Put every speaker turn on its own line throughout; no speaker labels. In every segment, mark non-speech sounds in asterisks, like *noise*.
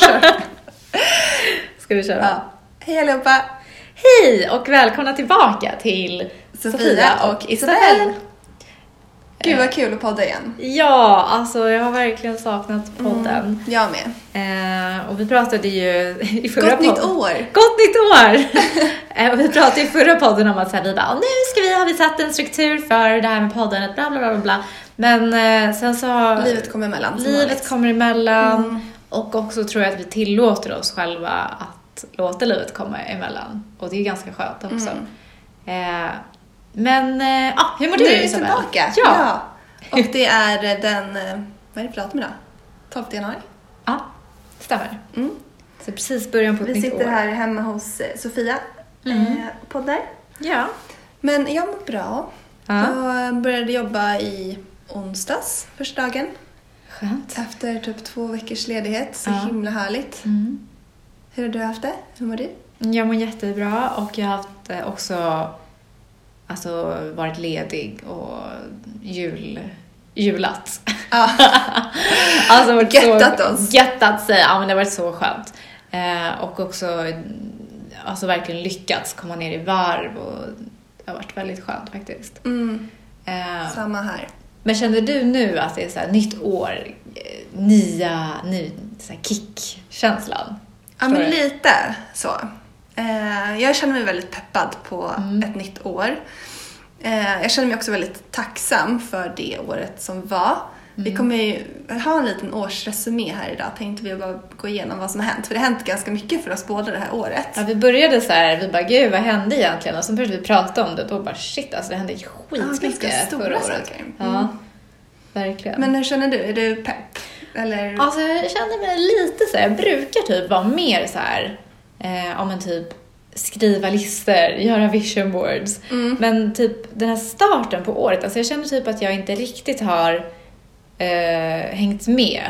Kör.
Ska vi köra?
*laughs* Ja. Hej allihopa!
Hej och välkomna tillbaka till
Sofia
Sofia,
och
och Isabelle.
Gud vad kul att podda igen.
Ja, alltså jag har verkligen saknat
Mm.
podden.
Jag med.
Eh, och vi pratade ju *laughs* i förra
Gott nytt
podden-
år!
Gott nytt
*laughs*
år! eh, och vi pratade i förra podden om att så här, vi bara, "Åh, nu ska vi, har vi satt en struktur för det här med podden, att bla bla bla bla, bla. Men eh, sen så...
Livet kom emellan. som vanligt. Mm.
Livet kommer emellan och också tror jag att vi tillåter oss själva att låta livet komma emellan. Och det är ganska skönt också. Eh, men eh, ah, hur mår
Mm. Nu
du
är vi
Isabel?
tillbaka!
Ja. ja.
Och det är den, eh, vad är det för datum idag? 12 januari.
Ah, stämmer.
Mm.
Så precis början på ett
Vi
nytt
sitter
år. Mm.
här hemma hos eh, Sofia eh, och poddar.
Ja.
Men jag mår bra.
Ja.
Jag började jobba i onsdags, första dagen.
Skönt.
Efter typ två veckors ledighet. Så
Ja.
himla härligt.
Mm.
Hur har du haft det? Hur mår du?
Jag mår jättebra och jag har haft eh, också alltså, varit ledig och jul, julat.
Ja.
alltså varit
Göttat
så,
oss.
Göttat sig, ja men det har varit så skönt. Eh, och också alltså verkligen lyckats komma ner i varv och det har varit väldigt skönt faktiskt.
Mm,
Eh,
samma här.
men känner du nu att det är så här, nytt år, eh, nya, ny så här kick-känslan?
Ja,
Förstår
men
du?
lite så. Eh, jag känner mig väldigt peppad på
Mm.
ett nytt år. Eh, jag känner mig också väldigt tacksam för det året som var.
Mm.
Vi kommer ju ha en liten årsresumé här idag. Tänkte vi bara gå igenom vad som har hänt. För det har hänt ganska mycket för oss båda det här året.
Ja, vi började så här, vi bara gud vad hände egentligen? Och sen började vi prata om det och då bara shit alltså det hände skitmycket
ganska stora
förra året.
saker. Mm.
Ja, verkligen.
Men hur känner du? Är du pepp? Eller?
Alltså jag känner mig lite så här, jag brukar typ vara mer så här, eh, om en typ skriva listor, göra vision boards. Men typ den här starten på året, alltså jag känner typ att jag inte riktigt har eh, hängt med.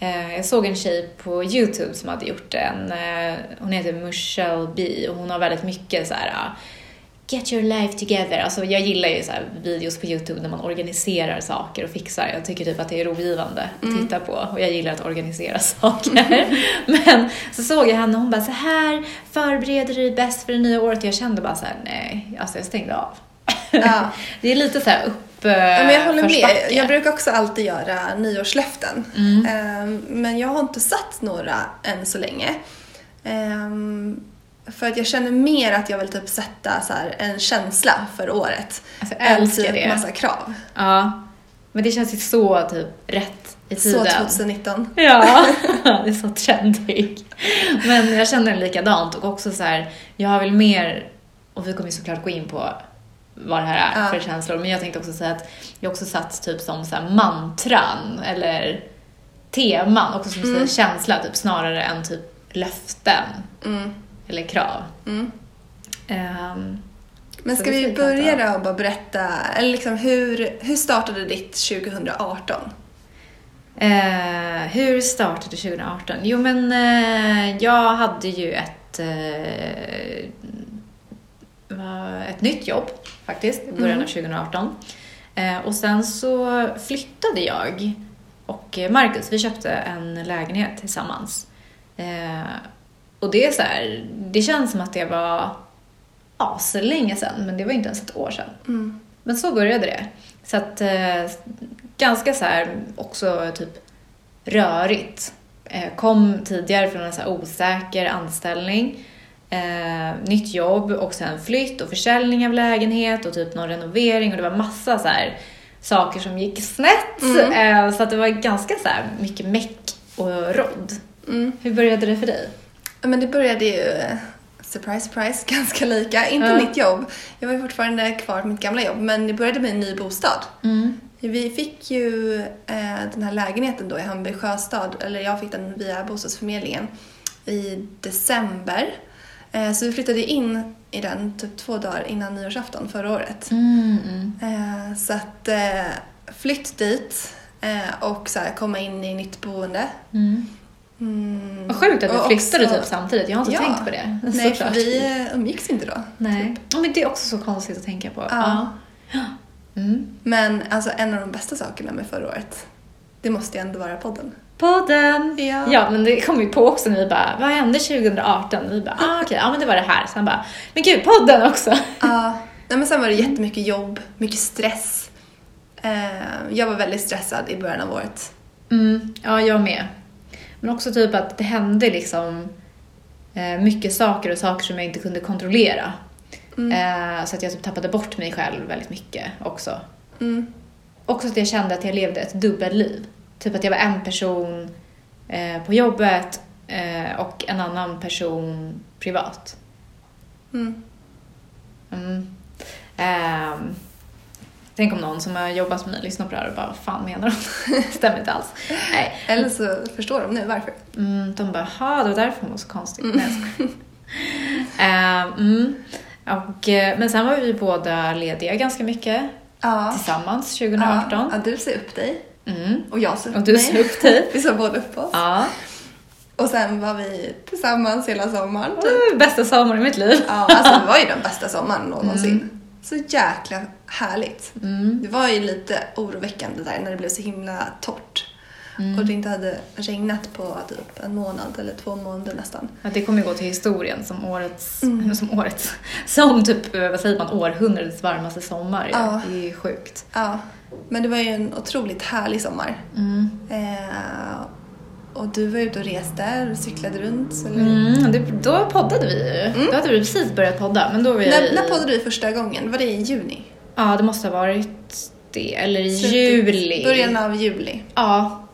Eh, jag såg en tjej på YouTube som hade gjort en, eh, hon heter Michelle B och hon har väldigt mycket så här ah, Get your life together. Alltså jag gillar ju så här videos på YouTube där man organiserar saker och fixar. Jag tycker typ att det är rogivande att
Mm.
titta på och jag gillar att organisera *laughs* saker. Men så såg jag henne och hon bara så här förbereder du dig bäst för det nya året och jag kände bara så här nej, alltså jag stängde av.
Ja.
*laughs* det är lite så här upp
Ja,
Eh,
men jag håller med. Jag brukar också alltid göra nyårslöften.
Mm.
Ehm, Men jag har inte satt några än så länge. Ehm, För att jag känner mer att jag vill typ sätta så här en känsla för året.
Alltså, jag
än
älskar
typ
det.
massa krav.
Ja, men det känns ju så typ rätt i
Så
tiden.
2019.
Ja,
*laughs*
*laughs* det är så trendig. Men jag känner likadant och också så här, jag vill mer, och vi kommer ju såklart gå in på vad det här är
Ja.
för känslor, men jag tänkte också säga att jag också satt typ som så här mantran eller teman, också som säger känsla, typ snarare än typ löften
Mm.
eller krav.
Mm.
Ehm,
Men
Så
ska
det
vi
ska vi prata
börja då och bara berätta, eller liksom hur, hur startade ditt 2018?
Eh, hur startade 2018? Jo, men eh, jag hade ju ett, eh, va- ett nytt jobb faktiskt i början av 2018. Eh, och sen så flyttade jag och eh, Marcus, vi köpte en lägenhet tillsammans. Eh, och det är så här, det känns som att det var aslänge sedan, men det var inte ens ett år sedan.
Mm.
Men så började det. Så att eh, ganska så här också typ rörigt. Eh, kom tidigare från en så här osäker anställning, eh, nytt jobb och sen flytt och försäljning av lägenhet och typ någon renovering och det var massa så här saker som gick snett.
Mm.
Eh, så att det var ganska så här mycket meck och rodd.
Mm.
Hur började det för dig?
Ja, Men det började ju, eh, surprise surprise, *laughs* ganska lika. Inte
Ja.
mitt jobb. Jag var ju fortfarande kvar på mitt gamla jobb, men det började med en ny bostad.
Mm,
Vi fick ju eh, den här lägenheten då i Hammarby sjöstad, eller jag fick den via bostadsförmedlingen, i december. Eh, så vi flyttade in i den typ två dagar innan nyårsafton förra året.
mm,
Eh, så att eh, flytt dit eh, och så här, komma in i nytt boende. Mm.
Vad sjukt att vi
Och
flyttade
också-
typ samtidigt. Jag har inte
Ja.
tänkt på det. *laughs*
Nej, för
såklart.
vi eh, umgicks inte då.
Nej. Typ. Ja, men det är också så konstigt att tänka på.
Ja.
Ja. Mm. *laughs*
Men alltså en av de bästa sakerna med förra året, det måste ju ändå vara podden.
podden.
Ja.
ja, men det kom vi på också när vi bara, vad hände 2018? Vi bara, ah, okej, ja men det var det här. Sen bara, men gud, podden också.
Ja. Nej, men sen var det jättemycket jobb, mycket stress. Eh, jag var väldigt stressad i början av året.
Mm, ja, jag med. Men också typ att det hände liksom eh, mycket saker och saker som jag inte kunde kontrollera.
Mm.
Eh, så att jag typ tappade bort mig själv väldigt mycket också.
Mm.
Också att jag kände att jag levde ett dubbelliv. Typ att jag var en person eh, på jobbet eh, och en annan person privat.
Mm.
Mm. Ehm, tänk om någon som har jobbat med mig lyssnar på det här och bara vad fan menar de? *laughs* Det Stämmer inte alls. Nej.
Eller så förstår de nu varför.
Mm, de bara, ha det var därför hon var så konstig.
Mm.
Nej, jag skojar. Ehm, mm. Och, eh, men sen var vi båda lediga ganska mycket
Ja.
tillsammans
Ja,
2018.
ja, du ser upp dig
Mm.
och jag ser upp
Och du sa
mig. *laughs*
upp dig.
Vi såg båda upp oss.
Ja.
Och sen var vi tillsammans hela sommaren. Typ.
Mm, Bästa sommaren i mitt liv.
Ja, alltså det var ju den bästa sommaren någonsin.
Mm.
Så jäkla härligt. Det var ju lite oroväckande där när det blev så himla torrt. Och det inte hade regnat på typ en månad eller två månader nästan.
Att det kommer ju gå till historien som årets,
Mm.
som årets, som typ, eh, vad säger man, århundradets varmaste sommar.
Ja.
Det är ju sjukt.
Ja, men det var ju en otroligt härlig sommar.
Mm.
Eh, och du var ute och reste, cyklade runt. Eller...
Mm, det, då poddade vi ju. Då hade vi precis börjat podda. Men då var jag
Mm. När,
i,
när poddade du första gången? Var det i juni?
Ja, det måste ha varit det. Eller i
Slutet-
juli.
Början av juli.
Ja.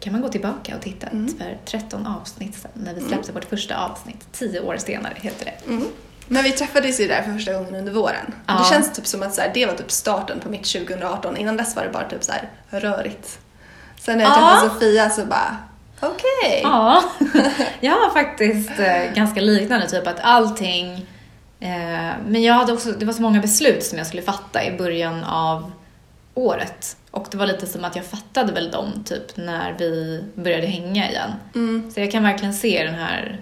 Kan man gå tillbaka och titta
Mm.
för 13 avsnitt sedan när vi släppte vårt första avsnitt. 10 år senare heter det.
Mm. Men vi träffades ju där för första gången under våren.
Ja.
Det känns typ som att så här, det var typ starten på mitt 2018. Innan dess var det bara typ så här rörigt. Sen när jag
Ja.
träffade Sofia så bara, okej. *laughs*
Ja, jag har faktiskt eh, ganska liknande, typ att allting... Eh, men jag hade också, det var så många beslut som jag skulle fatta i början av året. Och det var lite som att jag fattade väl dem typ när vi började hänga igen.
Mm.
Så jag kan verkligen se den här...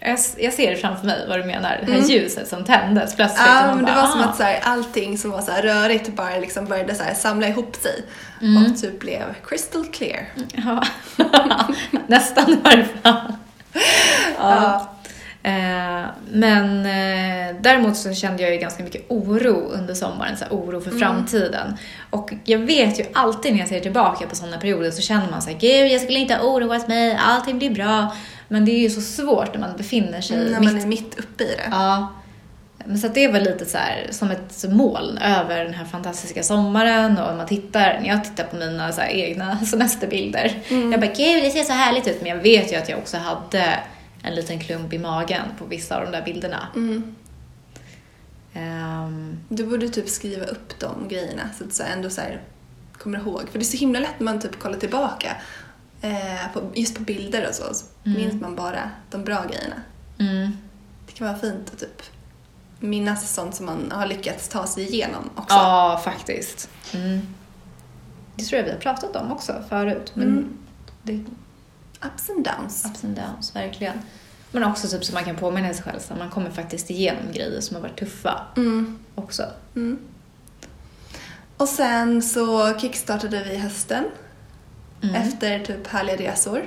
Jag, s- jag ser framför mig vad du menar, det här ljuset som tändes plötsligt. och
Mm. Ja,
man
men det
bara,
var som
"Ah."
att så här, allting som var så här rörigt bara liksom började så här samla ihop sig
Mm.
och typ blev crystal clear.
Ja. *laughs* Nästan i varje fall. Ja. Eh, Men eh, däremot så kände jag ju ganska mycket oro under sommaren, så här, oro för framtiden. Och jag vet ju alltid när jag ser tillbaka på sådana perioder så känner man såhär, gud jag skulle inte ha oroat mig, allting blir bra. Men det är ju så svårt när man befinner sig
Mm, När
Mm.
man
mitt
är mitt uppe i det.
Ja. Men så att det var lite så här, som ett moln över den här fantastiska sommaren och om man tittar, när jag tittar på mina så här egna *laughs* semesterbilder.
Mm.
Jag bara, gud det ser så härligt ut. Men jag vet ju att jag också hade en liten klump i magen på vissa av de där bilderna.
Mm.
Ehm,
Du borde typ skriva upp de grejerna så att du ändå så här kommer ihåg. För det är så himla lätt när man typ kollar tillbaka. Eh, på, just på bilder och så, så minns man bara de bra grejerna.
mm.
Det kan vara fint att typ minnas sånt som man har lyckats ta sig igenom också.
Ja, faktiskt. Mm. Det tror jag vi har pratat om också förut. Men
Mm.
det,
Ups and downs.
Ups and downs, verkligen. Men också typ så man kan påminna sig själv så att man kommer faktiskt igenom grejer som har varit tuffa
Mm.
också.
Mm. Och sen så kickstartade vi hösten
Mm.
efter typ härliga resor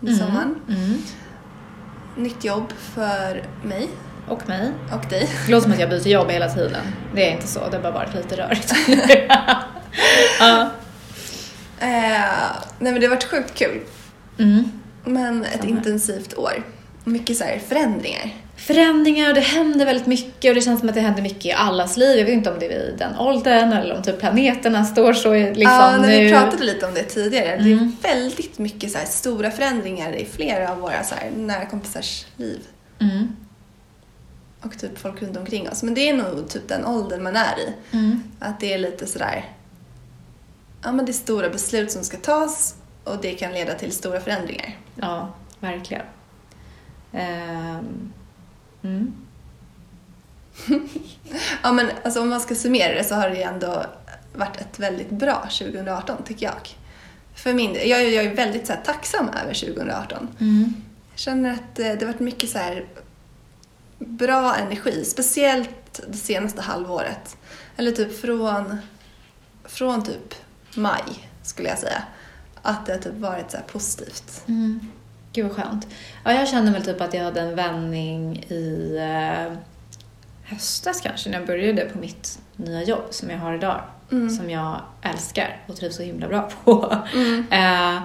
under sommaren.
Mm.
Nytt jobb för mig
Och mig.
och dig.
Det låter som att jag byter jobb hela tiden. Det är inte så, det har bara varit lite rörigt. *laughs* ja.
Eh, nej men det har varit sjukt kul.
mm.
Men ett
Samma.
intensivt år. Mycket så här förändringar.
Förändringar och det händer väldigt mycket och det känns som att det händer mycket i allas liv. Jag vet inte om det är i den åldern eller om typ planeterna står så i- liksom
ja, när
nu.
vi pratade lite om det tidigare. Det
Mm.
är väldigt mycket så här stora förändringar i flera av våra så här nära kompisars liv.
Mm.
Och typ folk runt omkring oss. Men det är nog typ den åldern man är i.
Mm.
Att det är lite sådär... Ja, men det är stora beslut som ska tas och det kan leda till stora förändringar.
Ja, verkligen. Ehm. Mm.
Ja, men alltså, om man ska summera det så har det ju ändå varit ett väldigt bra 2018, tycker jag. För min del. Jag, jag är väldigt så här, tacksam över 2018.
Mm.
Jag känner att eh, det har varit mycket så här bra energi, speciellt det senaste halvåret. Eller typ från, från typ maj, skulle jag säga. Att det har typ varit så här positivt.
Mm. Gud vad skönt. Ja, jag kände väl typ att jag hade en vändning i eh, höstas kanske, när jag började på mitt nya jobb som jag har idag.
Mm.
Som jag älskar och trivs så himla bra på. *laughs*
Mm.
Eh,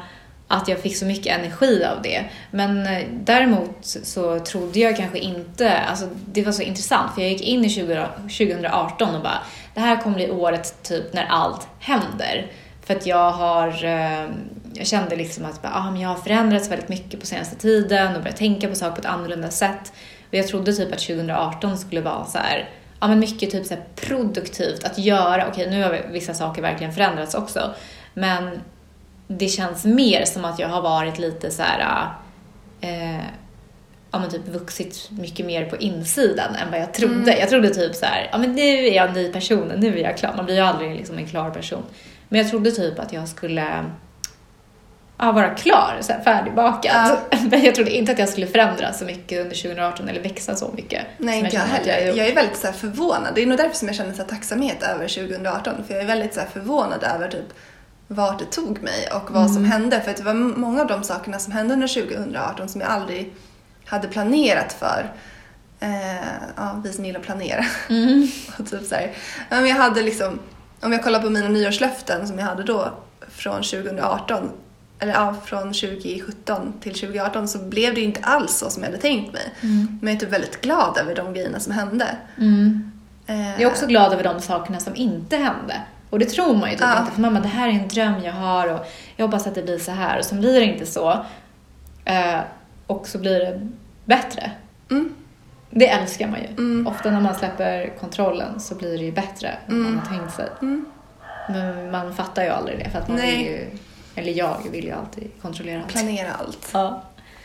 att jag fick så mycket energi av det. Men eh, däremot så trodde jag kanske inte, alltså det var så intressant för jag gick in i 20, 2018 och bara, det här kommer bli året typ när allt händer. För att jag har, eh, jag kände liksom att bara, ah, men jag har förändrats väldigt mycket på senaste tiden och börjat tänka på saker på ett annorlunda sätt. Och jag trodde typ att 2018 skulle vara så här, ja men mycket typ så här produktivt att göra. Okej, nu har vissa saker verkligen förändrats också. Men det känns mer som att jag har varit lite så här, eh, ja men typ vuxit mycket mer på insidan än vad jag trodde. Jag trodde typ så här, ja men nu är jag en ny person, nu är jag klar. Man blir ju aldrig liksom en klar person. Men jag trodde typ att jag skulle ja, vara klar, så här färdigbakad. *laughs* Men jag trodde inte att jag skulle förändras så mycket under 2018 eller växa så mycket.
Nej,
som
inte jag
känner att
heller.
gjort.
Jag, är väldigt så här förvånad. Det är nog därför som jag känner så här tacksamhet över 2018. För jag är väldigt så här förvånad över typ vart det tog mig och vad
Mm.
som hände. För att det var många av de sakerna som hände under 2018 som jag aldrig hade planerat för. Eh, ja, vi som gillar att planera. *laughs* och typ så här. Ja, men jag hade liksom, om jag kollar på mina nyårslöften som jag hade då från 2018 eller ja, från 2017 till 2018 så blev det ju inte alls så som jag hade tänkt mig. Men jag är typ väldigt glad över de grejerna som hände.
Mm.
Eh,
Jag är också glad över de sakerna som inte hände. Och det tror man ju typ
Ja.
inte. För mamma, det här är en dröm jag har och jag hoppas att det blir så här. Och så blir det inte så. Eh, och så blir det bättre.
Mm.
Det älskar man ju. Ofta när man släpper kontrollen så blir det ju bättre än man har tänkt sig.
Mm.
Men man fattar ju aldrig det. För att man
Nej.
vill ju, eller jag vill ju alltid kontrollera allt.
Planera allt.
Ja.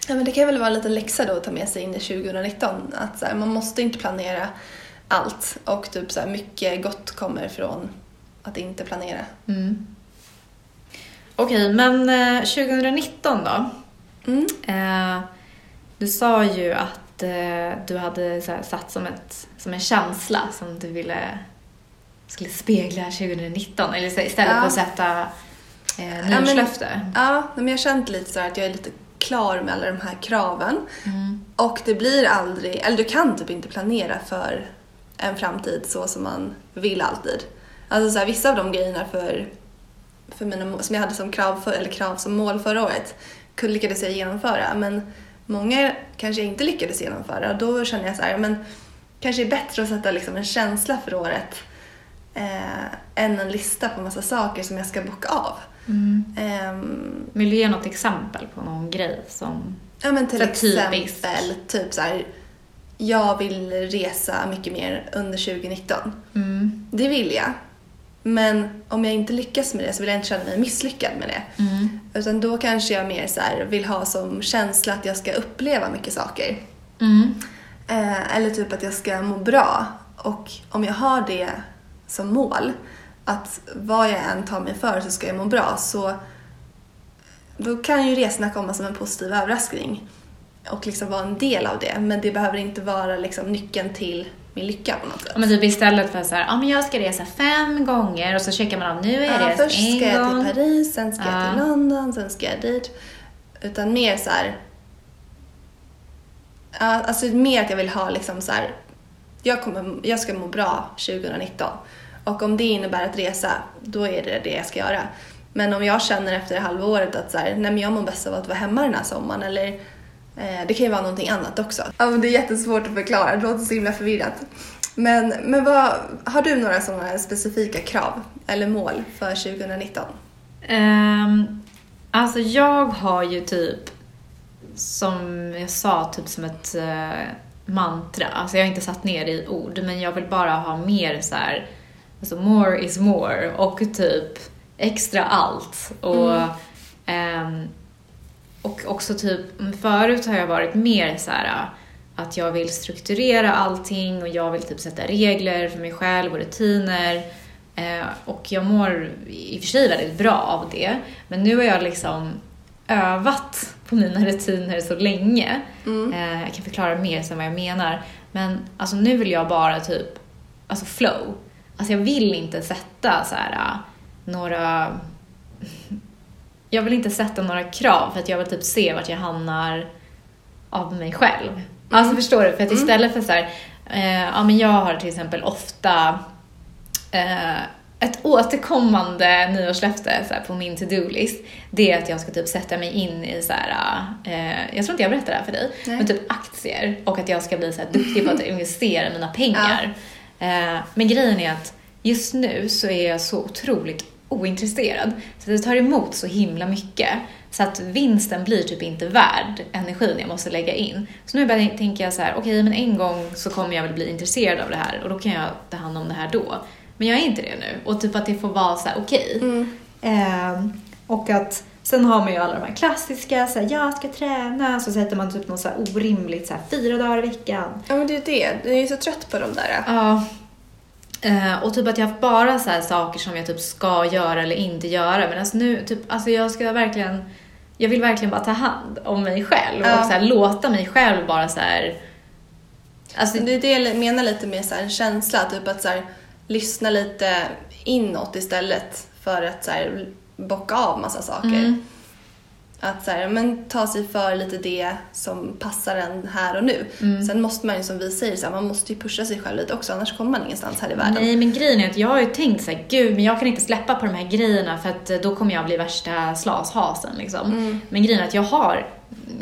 Ja, men det kan väl vara en liten läxa då att ta med sig in i 2019. Att så här, man måste inte planera allt. Och typ så här, mycket gott kommer från att inte planera.
Mm. Okej, men eh, 2019 då?
Mm.
Eh, du sa ju att eh, du hade så här, satt som, ett, som en känsla som du ville skulle spegla 2019. Eller så, istället
Ja.
för att sätta eh,
men-
nyårslöfte.
Ja, men jag har känt lite så här att jag är lite klar med alla de här kraven.
Mm.
Och det blir aldrig, eller du kan typ inte planera för en framtid så som man vill alltid. Alltså så här, vissa av de grejerna för, för mina, må- som jag hade som krav, för, eller krav som mål förra året kunde- lyckades jag genomföra men många kanske jag inte lyckades genomföra och då känner jag så här, men kanske är bättre att sätta liksom en känsla för året eh, än en lista på massa saker som jag ska bocka av. Ehm,
Vill du ge något exempel på någon grej som...
Ja men till
Så
exempel,
typiskt.
typ så här, jag vill resa mycket mer under 2019.
Mm.
Det vill jag. Men om jag inte lyckas med det så vill jag inte känna mig misslyckad med det.
Mm.
Utan då kanske jag mer så här, vill ha som känsla att jag ska uppleva mycket saker.
Mm.
Eh, eller typ att jag ska må bra. Och om jag har det som mål, att vad jag än tar mig för så ska jag må bra, så då kan ju resorna komma som en positiv överraskning och liksom vara en del av det. Men det behöver inte vara liksom nyckeln till min lycka på något sätt.
Ja, men typ istället för så här, ja men jag ska resa fem gånger och så checkar man av, nu är jag
Ja,
rest
först
en
ska jag typ
gång.
till Paris, sen ska jag till
Ja.
London, sen ska jag dit. Utan mer så här... Ja, alltså mer att jag vill ha liksom så här... Jag, kommer, jag ska må bra 2019. Och om det innebär att resa, då är det det jag ska göra. Men om jag känner efter det halva året att så här, nej men jag mår bäst av att vara hemma den här sommaren eller eh, det kan ju vara någonting annat också. Ja, men det är jättesvårt att förklara, det låter så himla förvirrat. Men, men vad, har du några sådana specifika krav eller mål för 2019?
Ehm, alltså jag har ju typ, som jag sa, typ som ett eh, mantra. Alltså jag har inte satt ner det i ord, men jag vill bara ha mer så här, alltså more is more och typ extra allt. Och, ehm, och också typ, förut har jag varit mer så här att jag vill strukturera allting och jag vill typ sätta regler för mig själv och rutiner. Eh, och jag mår i och för sig väldigt bra av det. Men nu har jag liksom övat på mina *laughs* rutiner så länge.
Mm.
Eh, jag kan förklara mer sen vad jag menar. Men alltså nu vill jag bara typ, alltså flow. Alltså jag vill inte sätta så här eh, några *laughs* jag vill inte sätta några krav för att jag vill typ se vart jag hamnar av mig själv. Alltså förstår du? För att istället för så här, eh, ja men jag har till exempel ofta eh, ett återkommande nyårslöfte så här, på min to-do-list, det är att jag ska typ sätta mig in i så här, eh, jag tror inte jag berättade det här för dig,
Nej.
men typ aktier och att jag ska bli så här, duktig på att investera mina pengar. Eh, men grejen är att just nu så är jag så otroligt ointresserad så det tar emot så himla mycket så att vinsten blir typ inte värd energin jag måste lägga in. Så nu bara tänker jag så här, okej men en gång så kommer jag väl bli intresserad av det här och då kan jag ta hand om det här då. Men jag är inte det nu. Och typ att det får vara så här, okej.
Mm.
Ehm, och att sen har man ju alla de här klassiska, så här, jag ska träna, så sätter man typ något så här orimligt, så här, fyra dagar i veckan.
Ja, men det är ju det. Du är ju så trött på de där.
Ja. Eh, och typ att jag har haft bara så här saker som jag typ ska göra eller inte göra. Men alltså nu, typ, alltså jag ska verkligen, jag vill verkligen bara ta hand om mig själv
Ja.
och så här, låta mig själv bara så här, alltså
Det är det jag menar lite med så här, en känsla, typ att så här, lyssna lite inåt istället för att så här, bocka av massa saker.
Mm.
Att så här, men ta sig för lite det som passar en här och nu.
Mm.
Sen måste man ju som vi säger, så här, man måste ju pusha sig själv lite också annars kommer man ingenstans här i världen.
Nej, men grejen är att jag har ju tänkt så här, gud, men jag kan inte släppa på de här grejerna för att eh, då kommer jag bli värsta slashasen liksom.
Mm.
Men grejen är att jag har,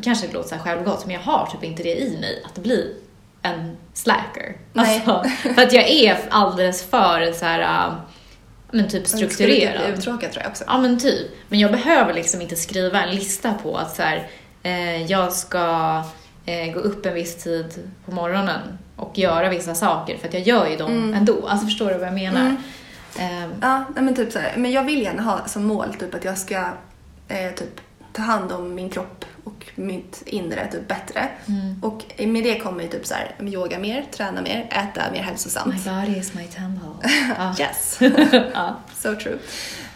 kanske det låter så här självgott, men jag har typ inte det i mig att bli en slacker. Alltså,
Nej.
för att jag är alldeles för så här, äh,
*laughs*
men typ
Det skulle typ
strukturerad.
bli uttråkad tror jag också.
Ja men typ. Men jag behöver liksom inte skriva en lista på att så här, eh, jag ska eh, gå upp en viss tid på morgonen och göra vissa saker för att jag gör ju dem ändå. Alltså förstår du vad jag menar? Eh,
Ja, nej, men typ så här, men jag vill gärna ha som mål typ att jag ska eh, typ ta hand om min kropp och mitt inre typ bättre. Och med det kommer ju typ så här, yoga mer, träna mer, äta mer hälsosamt.
oh my body is my temple. Ja.
Yes,
*laughs* ja.
so true.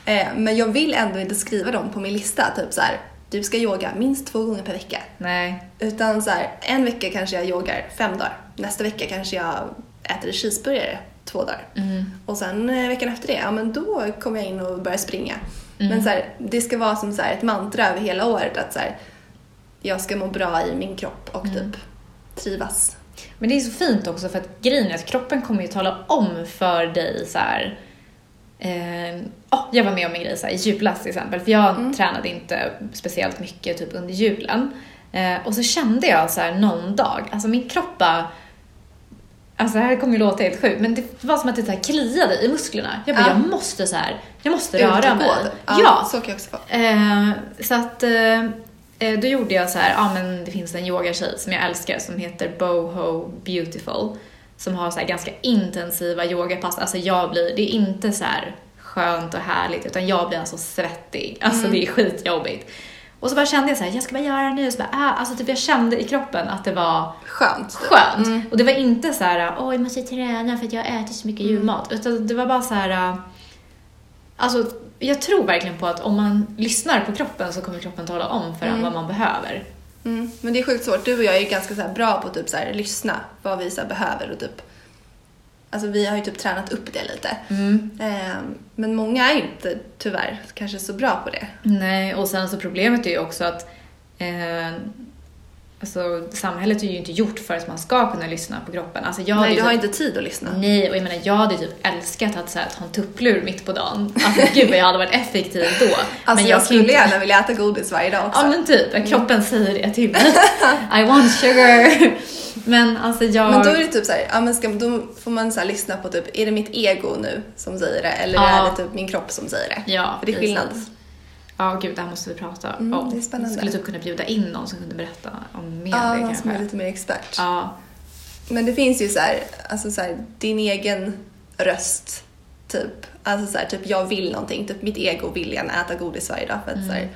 Eh, men jag vill ändå inte skriva dem på min lista, typ så här, du ska yoga minst två gånger per vecka.
Nej.
Utan så här, en vecka kanske jag yogar fem dagar. Nästa vecka kanske jag äter cheeseburgare två dagar.
Mm.
Och sen eh, veckan efter det, ja men då kommer jag in och börjar springa.
Mm.
Men så här, det ska vara som så här, ett mantra över hela året att så här, jag ska må bra i min kropp och
Mm.
typ trivas.
Men det är så fint också för att grejen är att kroppen kommer ju tala om för dig så här. Eh, ja, jag var med om en grej så här, i julas till exempel, för jag
Mm.
tränade inte speciellt mycket typ under julen. Eh, och så kände jag så här någon dag, alltså min kropp bara Alltså det här kommer ju låta helt sjukt, men det var som att det så här kliade i musklerna. Jag bara,
Ja.
jag måste så här, jag måste röra
Ut och
mig.
gå, typ. Ja,
ja,
Så kan jag också vara.
Eh, så att eh, eh, då gjorde jag så här, ja men det finns en yogatjej som jag älskar som heter Boho Beautiful som har så här ganska intensiva yogapass. Alltså jag blir, det är inte så här skönt och härligt utan jag blir alltså svettig. Alltså det är skitjobbigt. Och så bara kände jag så här, jag ska bara göra det nu. Så bara, ah, alltså typ jag kände i kroppen att det var
Skönt. typ.
skönt. Och det var inte så här, åh jag måste träna för att jag äter så mycket julmat. Utan det var bara så här, alltså jag tror verkligen på att om man lyssnar på kroppen så kommer kroppen tala om för en vad man behöver.
Mm. Men det är sjukt svårt. Du och jag är ju ganska så här bra på att typ så här, lyssna vad vi så här, behöver och typ Alltså vi har ju typ tränat upp det lite.
Mm.
Ehm, men många är ju inte tyvärr kanske så bra på det.
Nej, och sen så problemet är ju också att eh, alltså, samhället är ju inte gjort för att man ska kunna lyssna på kroppen. Alltså, jag hade
Nej,
ju
du har
typ-
ju inte tid att lyssna.
Nej, och jag menar jag hade ju typ älskat att, så här, ta en tupplur mitt på dagen. Alltså gud vad jag hade varit effektiv då.
Alltså jag,
kan ju
skulle
inte-
gärna vilja äta godis varje dag också.
Ja men typ,
Mm.
kroppen säger det till mig. I want sugar. Men alltså jag...
Men då är det typ såhär, ja, men ska, då får man så här lyssna på typ, är det mitt ego nu som säger det eller
Ja.
är det typ min kropp som säger det?
Ja,
För det är
precis.
skillnad.
Ja, gud, det här måste vi prata
Mm,
om.
det är spännande.
Vi skulle typ kunna bjuda in någon som kunde berätta om mer
Ja,
det
någon som är
kanske.
lite mer expert.
Ja,
Men det finns ju så här, alltså så här, din egen röst. Typ. Alltså så här, typ jag vill någonting. Typ mitt ego vill gärna äta godis varje dag
Mm.
för att så här,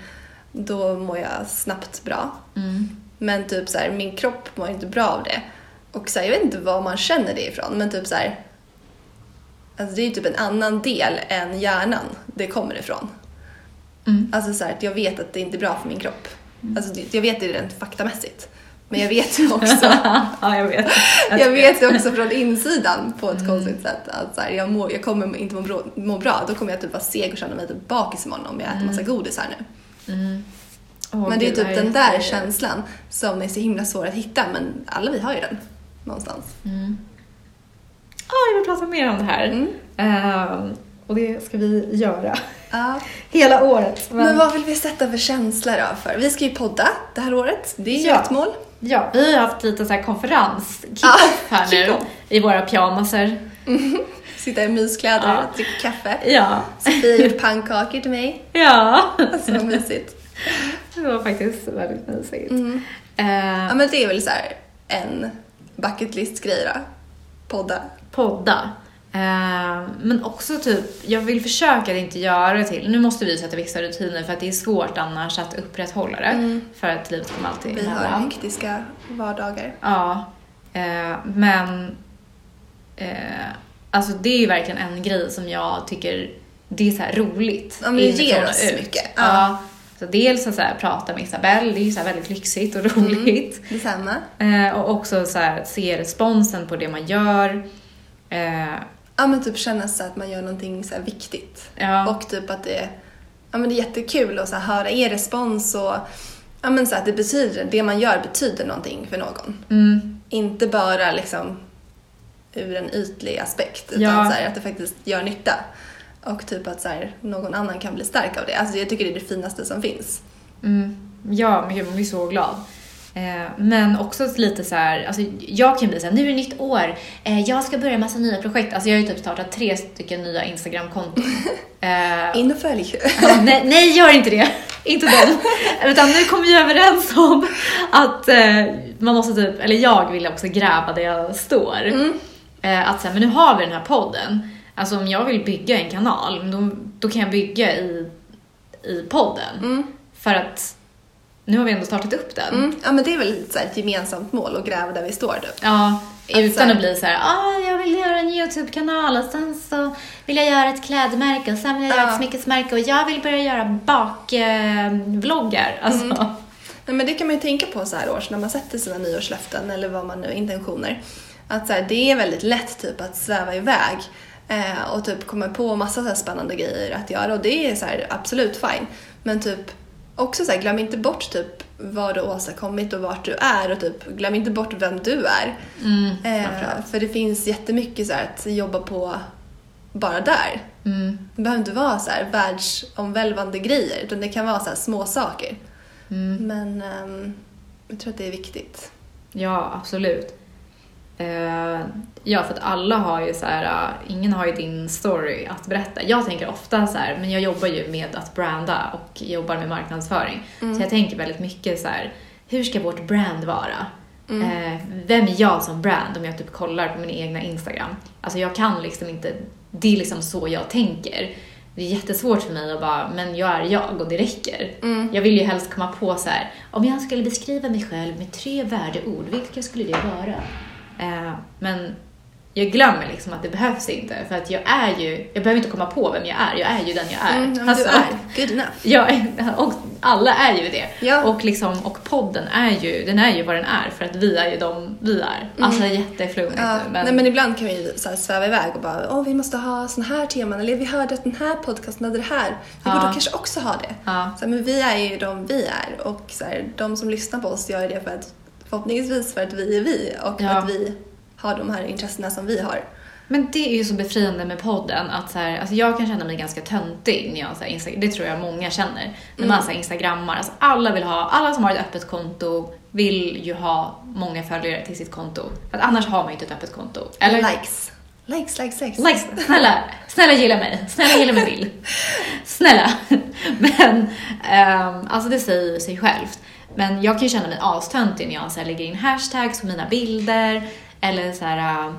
då mår jag snabbt bra.
Mm.
Men typ så här, min kropp mår inte bra av det. Och så här, jag vet inte var man känner det ifrån men typ så här, alltså det är ju typ en annan del än hjärnan det kommer ifrån.
Mm.
Alltså så här, att jag vet att det inte är bra för min kropp. Alltså det- jag vet det rent faktamässigt. Men jag vet ju också
*laughs* ja jag vet.
jag vet ju också från insidan på ett konstigt sätt att så här, jag, mår, jag kommer inte må bra, må bra. Då kommer jag typ vara seg och känna mig typ bakis imorgon om jag äter massa godis här nu.
Mm. Åh,
men det är
gud,
typ
vad
den
jag-
där känslan som är så himla svår att hitta men alla vi har ju den någonstans.
Mm. Ja, jag vill prata mer om det här.
Mm.
Ehm, och det ska vi göra.
Ja.
*laughs* Hela året.
Men... vad vill vi sätta för känsla då? För? Vi ska ju podda det här året. Det är ju
Ja.
ett mål.
Ja, vi har haft lite så här konferens, kick-off här nu, i våra pyjamaser.
*laughs* Sitta i myskläder,
Ja.
dricka kaffe.
Ja.
Sofia har gjort pannkakor till mig.
Ja.
Så mysigt.
*laughs* Det var faktiskt väldigt mysigt.
Mm.
Eh,
Ja men det är väl så här en bucket list grej då. Podda.
podda. Eh, men också typ, jag vill försöka att inte göra det till, nu måste vi sätta vissa rutiner för att det är svårt annars att upprätthålla det. För att livet kommer alltid
Mm. Vi har
emellan.
hektiska vardagar.
Ja, eh, men eh, alltså det är ju verkligen en grej som jag tycker det är så här roligt.
Ja, men det
inifrån
ger
och
oss
ut.
mycket.
Ja.
Ja.
Så dels att så här, prata med Isabelle, det är ju så här väldigt lyxigt och
Mm.
roligt.
Detsamma.
Eh, och också så här, att se responsen på det man gör. Eh,
Ja men typ känna så att man gör någonting så här viktigt.
ja.
Och typ att det, ja, men det är jättekul att så här, höra er respons och ja, men så att det, betyder, det man gör betyder någonting för någon.
mm,
Inte bara liksom ur en ytlig aspekt utan
Ja.
så här, att det faktiskt gör nytta. Och typ att så här, någon annan kan bli stark av det. Alltså jag tycker det är det finaste som finns.
mm, ja, men gud, man blir så glad. Eh, Men också lite så här, alltså jag kan bli så här, nu är det nytt år, eh, jag ska börja massa nya projekt. Alltså jag har ju typ startat tre stycken nya Instagram-konton. Eh,
In och följ.
Ja, nej, nej, gör inte det. *laughs* Inte dem. Utan nu kommer vi överens om att eh, man måste typ, eller jag vill också gräva där jag står.
Mm.
Eh, att säga, men nu har vi den här podden. Alltså om jag vill bygga en kanal, men då, då kan jag bygga i, i podden.
Mm.
För att nu har vi ändå startat upp den.
Mm. Ja men det är väl lite så här ett gemensamt mål att gräva där vi står typ.
Ja, utan
så-
att bli så här, ah, jag vill göra en YouTube-kanal och sen så vill jag göra ett klädmärke och sen vill jag göra
Ja.
ett smyckesmärke och jag vill börja göra bakvloggar. Alltså,
Nej, men det kan man ju tänka på så här års när man sätter sina nyårslöften eller vad man nu intentioner. Att så här, det är väldigt lätt typ att sväva iväg eh, och typ komma på massa så här spännande grejer att göra och det är så här, absolut fine. Men typ också så här, glöm inte bort typ vad du åstadkommit och vart du är och typ glöm inte bort vem du är.
Mm,
Eh, för det finns jättemycket så här att jobba på bara där.
mm,
Det behöver inte vara så här världsomvälvande grejer utan det kan vara så här små saker.
mm.
Men ehm, jag tror att det är viktigt.
Ja, absolut. Eh, ja, för att alla har ju så här, eh, ingen har ju din story att berätta. Jag tänker ofta så här, men jag jobbar ju med att branda och jobbar med marknadsföring. Så jag tänker väldigt mycket så här, hur ska vårt brand vara? Eh, vem är jag som brand om jag typ kollar på min egna Instagram? Alltså jag kan liksom inte, det är liksom så jag tänker. Det är jättesvårt för mig att bara, men jag är jag och det räcker. Jag vill ju helst komma på så här, om jag skulle beskriva mig själv med tre värdeord, vilka skulle det vara? Eh, men jag glömmer liksom att det behövs inte, för att jag är ju, jag behöver inte komma på vem jag är, jag är ju den jag är.
Mm, men
Alltså,
du är good enough.
Ja, *laughs* och alla är ju det.
Ja.
Och, liksom, och podden är ju, den är ju vad den är för att vi är ju de vi är. Alltså jätteflummigt
Mm. Ja,
nu, men,
nej, men ibland kan vi ju så här sväva iväg och bara åh vi måste ha såna här teman eller vi hörde att den här podcasten hade det här. Vi
Ja.
borde kanske också ha det.
Ja.
Så här, men vi är ju de vi är och så här, de som lyssnar på oss gör det för att förhoppningsvis för att vi är vi och
Ja.
att vi har de här intressena som vi har.
men det är ju så befriande med podden att så här, alltså jag kan känna mig ganska töntig när jag så här, Insta- det tror jag många känner, när man så här, instagrammar. Alltså alla vill ha, alla som har ett öppet konto vill ju ha många följare till sitt konto. För att annars har man ju inte ett öppet konto. Eller?
Likes. Likes, likes, likes.
Likes, snälla, snälla gilla mig, snälla gilla min bild. Snälla. *laughs* Men ehm, alltså det säger sig självt. Men jag kan ju känna mig astöntig när jag så här lägger in hashtags på mina bilder eller så här,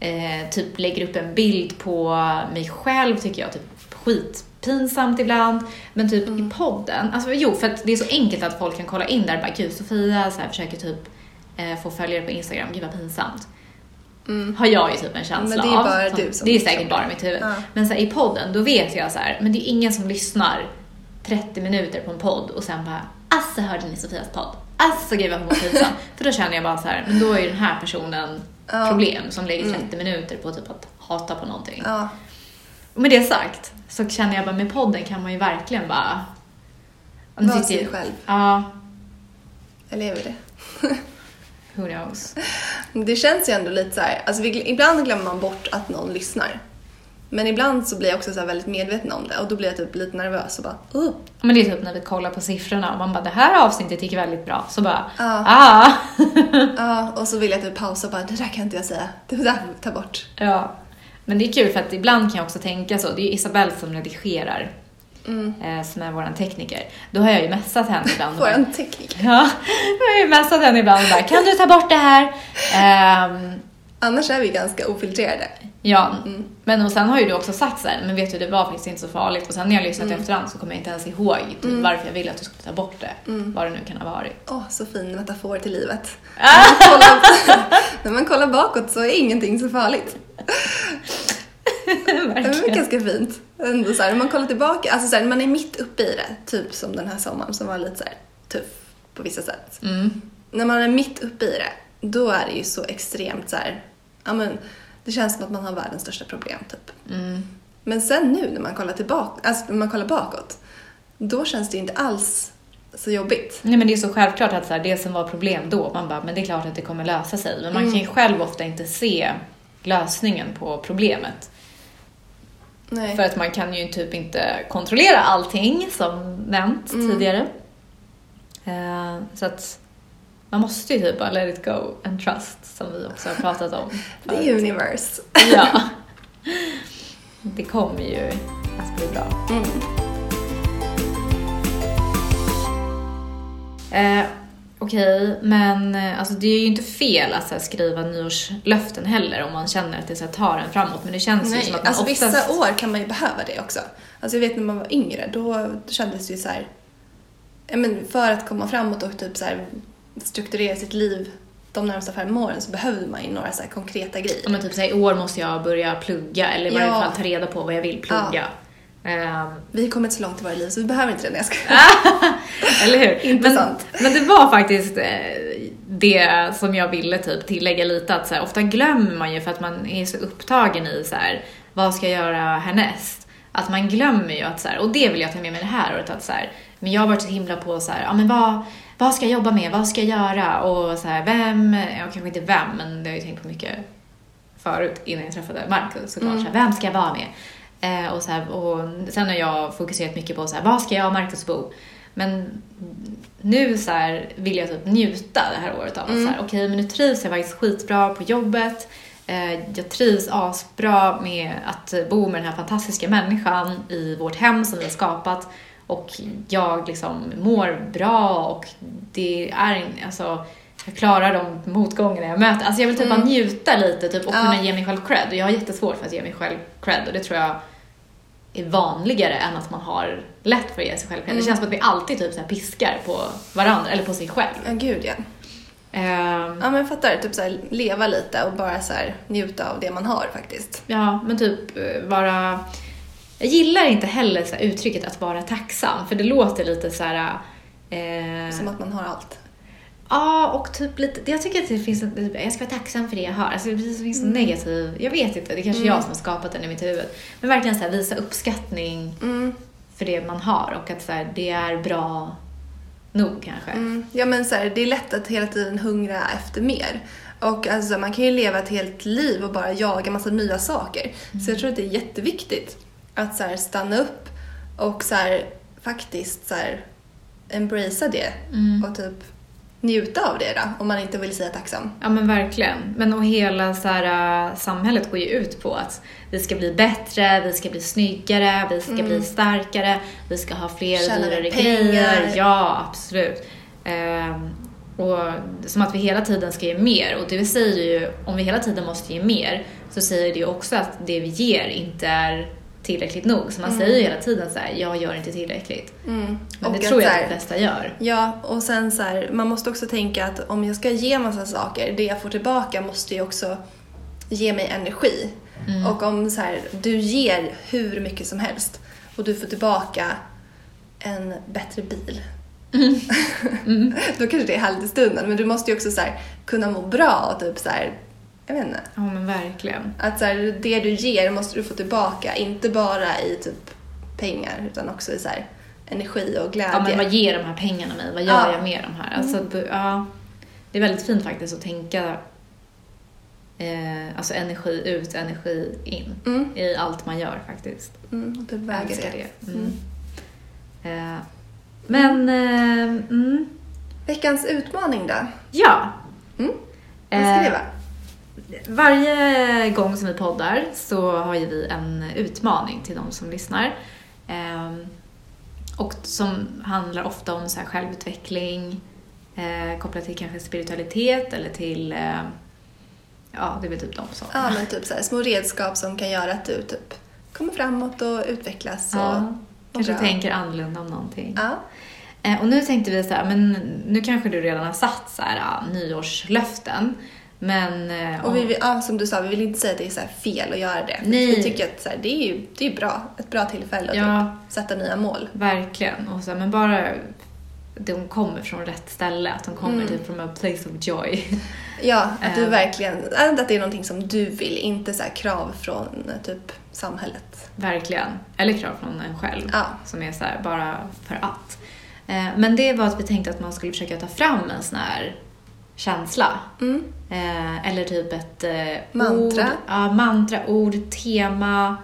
eh, typ lägger upp en bild på mig själv tycker jag typ skitpinsamt ibland. Men typ i podden, alltså jo för att det är så enkelt att folk kan kolla in där och bara gud Sofia så här, försöker typ eh, få följare på Instagram, gud vad pinsamt
Mm.
har jag ju typ en känsla
Men det är
av.
bara du som
det är
liksom-
säkert bara mitt huvud.
Ja.
Men så här, i podden, då vet jag så här, men det är ingen som lyssnar 30 minuter på en podd och sen bara Alltså hörde ni Sofias podd? Alltså gud vad hon var
*laughs*
pinsam. För då känner jag bara så här, men då är ju den här personen
Ja. Mm.
problem som lägger 30 minuter på typ att hata på någonting.
Ja.
Och med det sagt så känner jag bara med podden kan man ju verkligen bara Och nu
Var
sitter-
sig själv.
Ja,
Eller är vi det?
who knows.
Det känns ju ändå lite så här, alltså vi, ibland glömmer man bort att någon lyssnar. Men ibland så blir jag också så här väldigt medveten om det och då blir jag typ lite nervös och bara "Åh,
Men det är typ när vi kollar på siffrorna och man bara det här avsnittet gick väldigt bra. Så bara
Ja.
ah. *laughs*
Ja, och så vill jag typ pausa och bara det där kan inte jag säga, det där ta bort.
ja. Men det är kul för att ibland kan jag också tänka så. Det är ju Isabelle som redigerar. Eh, som är vår tekniker. Då har jag ju messat henne ibland. och
Mm. Får
bara,
en teknik.
*laughs* Ja, jag har ju messat henne ibland och bara kan du ta bort det här? Ehm,
Annars är vi ganska ofiltrerade.
ja,
Mm.
men och sen har ju du också sagt så här, men vet du det var faktiskt inte så farligt och sen när jag lyssnat
Mm.
efterhand så kommer jag inte ens ihåg typ, varför jag ville att du skulle ta bort det,
Mm.
vad det nu kan ha varit. *laughs*
Åh, så fin metafor till livet. När man, kollar, *laughs* när man kollar bakåt så är ingenting så farligt. Det
Verkligen.
var ganska fint. Ändå så här, när man kollar tillbaka, alltså så här, när man är mitt uppe i det, typ som den här sommaren som var lite så här tuff på vissa sätt.
Mm.
När man är mitt uppe i det, då är det ju så extremt så här, ja men det känns som att man har världens största problem typ.
Mm.
Men sen nu när man kollar, tillbaka, alltså när man kollar bakåt, då känns det inte alls så jobbigt.
Nej men det är så självklart att så här, det som var problem då, man bara, men det är klart att det kommer lösa sig. Men man kan ju själv ofta inte se lösningen på problemet.
Nej.
För att man kan ju typ inte kontrollera allting som nämnt tidigare. Eh, så att man måste ju typ bara let it go and trust som vi också har pratat om.
The universe.
ja. Det kommer ju att bli bra.
Mm.
Eh, Okej, men eh, alltså, det är ju inte fel att så här, skriva nyårslöften heller om man känner att det så här, tar en framåt. Men det känns ju
Nej,
som att man
alltså
oftast...
vissa år kan man ju behöva det också. Alltså jag vet när man var yngre, då kändes det ju så här, ja, men för att komma framåt och typ så här strukturera sitt liv de närmsta fem åren så behövde man ju några så här konkreta
Ja,
grejer.
men typ såhär, i år måste jag börja plugga eller i varje
Ja.
fall ta reda på vad jag vill plugga. Ehm,
Vi har kommit så långt i våra liv så vi behöver inte det när jag ska...
eller hur?
Intressant.
Men, men det var faktiskt eh, det som jag ville typ tillägga lite att såhär, ofta glömmer man ju för att man är så upptagen i så vad ska jag göra härnäst? Att man glömmer ju att så och det vill jag ta med mig det här året att så men jag har varit så himla på så ja men vad, vad ska jag jobba med, vad ska jag göra och så vem, ja kanske inte vem men det har jag ju tänkt på mycket förut innan jag träffade Marcus såklart. Så här, vem ska jag vara med? Eh, och, så här, och sen har jag fokuserat mycket på så här, vad ska jag och Marcus bo? Men nu så här, vill jag typ njuta det här året av att så här, okej men nu trivs jag faktiskt skitbra på jobbet. Eh, jag trivs asbra med att bo med den här fantastiska människan i vårt hem som vi har skapat. Och jag liksom mår bra och det är en, alltså jag klarar de motgångarna jag möter. Alltså jag vill typ bara njuta lite typ, och
Ja.
kunna ge mig själv cred. Och jag har jättesvårt för att ge mig själv cred och det tror jag är vanligare än att man har lätt för att ge sig själv cred. Det känns som att vi alltid typ så här piskar på varandra eller på sig själv.
Ja, gud ja.
Ehm,
Ja, men jag fattar. Typ så här, leva lite och bara så här, njuta av det man har faktiskt.
Ja, men typ eh, vara... Jag gillar inte heller så här, uttrycket att vara tacksam, för det låter lite så här... Eh,
Som att man har allt.
ja, och typ lite... Jag tycker att det finns en, typ, Jag ska vara tacksam för det jag har. Alltså det finns en
Mm.
negativ... Jag vet inte, det är kanske jag som har skapat den i mitt huvud. Men verkligen så här, visa uppskattning
Mm.
för det man har och att så här, det är bra nog kanske.
Mm. Ja men så här, det är lätt att hela tiden hungra efter mer. Och alltså, man kan ju leva ett helt liv och bara jaga massa nya saker. Så
Mm.
jag tror att det är jätteviktigt att så här, stanna upp och så här, faktiskt så här, embracea det
Mm.
och typ njuta av det då, om man inte vill säga tacksam.
Ja men verkligen. Men och hela så här, äh, samhället går ju ut på att vi ska bli bättre, vi ska bli snyggare, vi ska bli starkare, vi ska ha fler
Mm. Tjäna mer
dyrare
pengar.
grejer. Ja, absolut. Ehm, och som att vi hela tiden ska ge mer. Och det säger ju, om vi hela tiden måste ge mer, så säger det ju också att det vi ger inte är tillräckligt nog. Så man säger ju hela tiden så här, jag gör inte tillräckligt.
Mm.
Men
Och
det tror
att
jag
så
att
här-
de flesta gör.
Ja, och sen så här, man måste också tänka att om jag ska ge massa saker, det jag får tillbaka måste ju också ge mig energi.
Mm.
Och om så här, du ger hur mycket som helst och du får tillbaka en bättre bil.
Mm.
*laughs* Då kanske det är härligt i stunden, men du måste ju också så här, kunna må bra och typ så här, jag vet inte.
Ja men verkligen.
Att så här, det du ger måste du få tillbaka, inte bara i typ pengar utan också i så här, energi och
Ja, men
glädje.
vad ger de här pengarna mig? Vad gör
Ja. Mm.
jag med de här? Alltså, bu- ja, det är väldigt fint faktiskt att tänka eh, alltså energi ut, energi in
Mm,
i allt man gör faktiskt.
mm, och du
Jag
väger Mm.
älskar
det.
det. Mm. Eh, men, eh, mm,
Veckans utmaning då?
ja.
Mm. Vad ska det
Eh,
vara?
varje gång som vi poddar så har ju vi en utmaning till de som lyssnar. Ehm, och som handlar ofta om så här självutveckling eh, kopplat till kanske spiritualitet eller till, eh, ja det är väl typ de sakerna.
Ja, men typ så här, små redskap som kan göra att du typ kommer framåt och utvecklas. Och,
Ja, kanske
bra.
tänker annorlunda om någonting.
ja.
Eh, och nu tänkte vi så här, men nu kanske du redan har satt så här, ja, nyårslöften. Men, eh,
Och
om-
vi, vill- ja, som du sa, vi vill inte säga att det är så här fel att göra det.
Nej.
Vi tycker att så här, det är ju det är ju bra, ett bra tillfälle att
ja,
typ, sätta nya mål.
Verkligen. Och så, här, men bara de kommer från rätt ställe, att de kommer
Mm.
typ från a place of joy. *laughs*
Ja, att du
Ehm.
verkligen, att det är någonting som du vill, inte så här krav från eh, typ samhället.
Verkligen. Eller krav från en själv,
Ja.
som är så här, bara för att. Eh, Men det var att vi tänkte att man skulle försöka ta fram en sån här känsla.
Mm.
Eh, Eller typ ett eh,
Mantra.
Ord, ja, mantra, ord, tema.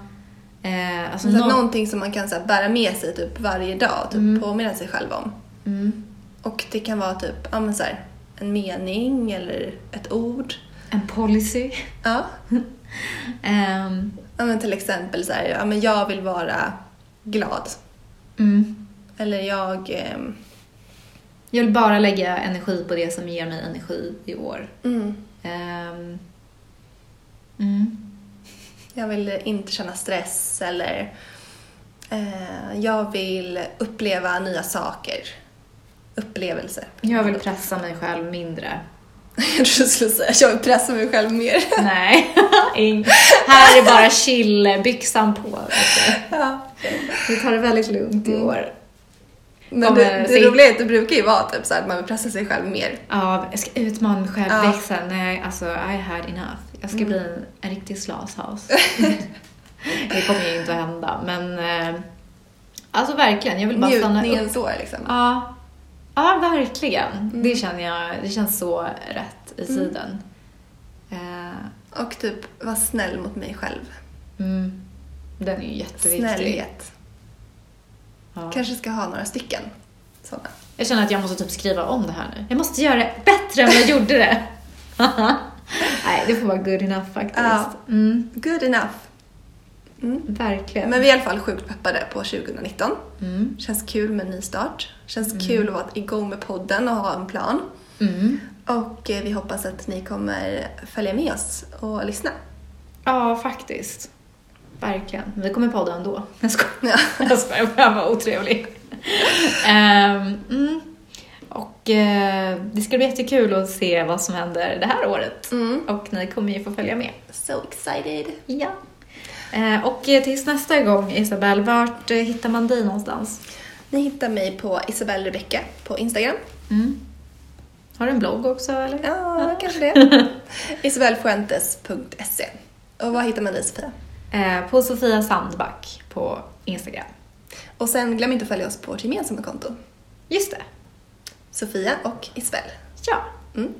Eh, alltså
Så att
nå-
Någonting som man kan så här, bära med sig typ varje dag och typ påminna sig själv om.
mm,
Och det kan vara typ, ja men så här, en mening eller ett ord.
en policy. *laughs*
Ja,
Ehm,
ja men till exempel så här, ja men jag vill vara glad.
mm.
Eller jag, ehm,
Jag vill bara lägga energi på det som ger mig energi i år.
mm,
Ehm, mm.
Jag vill inte känna stress eller eh, jag vill uppleva nya saker. Upplevelse.
Jag vill pressa mig själv mindre.
*laughs* Jag trodde du skulle säga att jag vill pressa mig själv mer.
*laughs* Nej, ing- här är bara chillbyxan på. vet
Ja.
du. Vi tar det väldigt lugnt i år.
Men
Kommer
det, det
sig-
roliga är att det brukar ju vara typ så här att man vill pressa sig själv mer.
Ja, jag ska utmana mig själv,
Ja.
växa. Nej, alltså I had enough. Jag ska bli en, en riktig *laughs* slashas. det kommer ju inte att hända, men eh, alltså verkligen. Jag vill bara stanna upp.
Njutningen så liksom.
Ja, ja verkligen.
Mm.
Det känner jag, det känns så rätt i tiden. Eh,
Och typ vara snäll mot mig själv.
Mm. Den är ju jätteviktig.
Snällhet.
Ja.
Kanske ska ha några stycken sådana.
Jag känner att jag måste typ skriva om det här nu. Jag måste göra det bättre än vad jag
*laughs*
gjorde det. Nej, det får vara good enough faktiskt.
Ja.
Mm,
Good enough.
verkligen.
Men vi är i alla fall sjukt peppade på 2019.
Mm.
Känns kul med en ny start. Känns kul att vara igång med podden och ha en plan.
Mm.
Och eh, vi hoppas att ni kommer följa med oss och lyssna.
Ja, faktiskt. Verkligen. Vi kommer podda ändå. Jag skojar.
Ja.
Jag skojar, jag var otrevlig. Ehm, mm. Och eh, det ska bli jättekul att se vad som händer det här året.
Mm.
Och ni kommer ju få följa med.
So excited!
Ja. Eh, och eh, tills nästa gång, Isabel, vart eh, hittar man dig någonstans?
Ni hittar mig på Isabelle Rebecka på Instagram.
Mm. Har du en blogg också, eller?
Ja, kanske det.
*laughs*
Isabellefuentes.se E. Och var hittar man dig Sofia?
Eh, på Sofia Sandback på Instagram.
Och sen glöm inte att följa oss på vårt gemensamma konto.
Just det.
Sofia och Isabelle.
Ja.
Mm.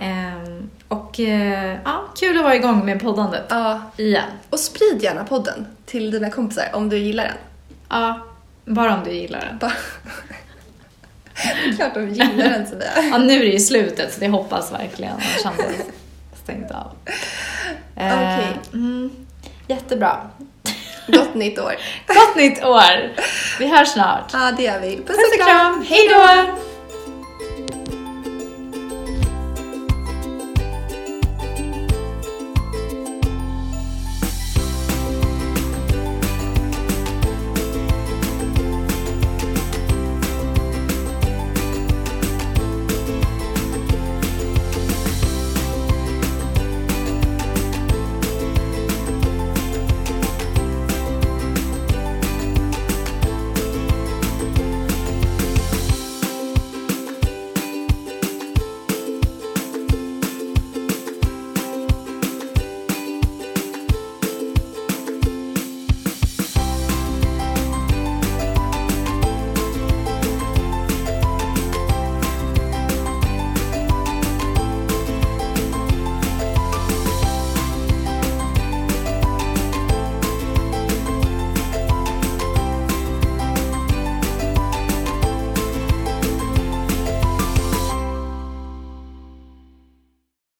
Ehm, och eh, ja, kul att vara igång med poddandet.
Ja,
Igen.
och sprid gärna podden till dina kompisar om du gillar den.
Ja, bara om du gillar den.
Bara... *laughs* Det är Klart de gillar den Sofia.
Ja, nu är det ju slutet så det hoppas verkligen. Annars hade jag stängt av. Eh,
Okej.
mm, jättebra.
Gott nytt år!
Gott nytt år! Vi hörs snart.
Ja, det gör vi. Puss
Puss och kram! Hej då!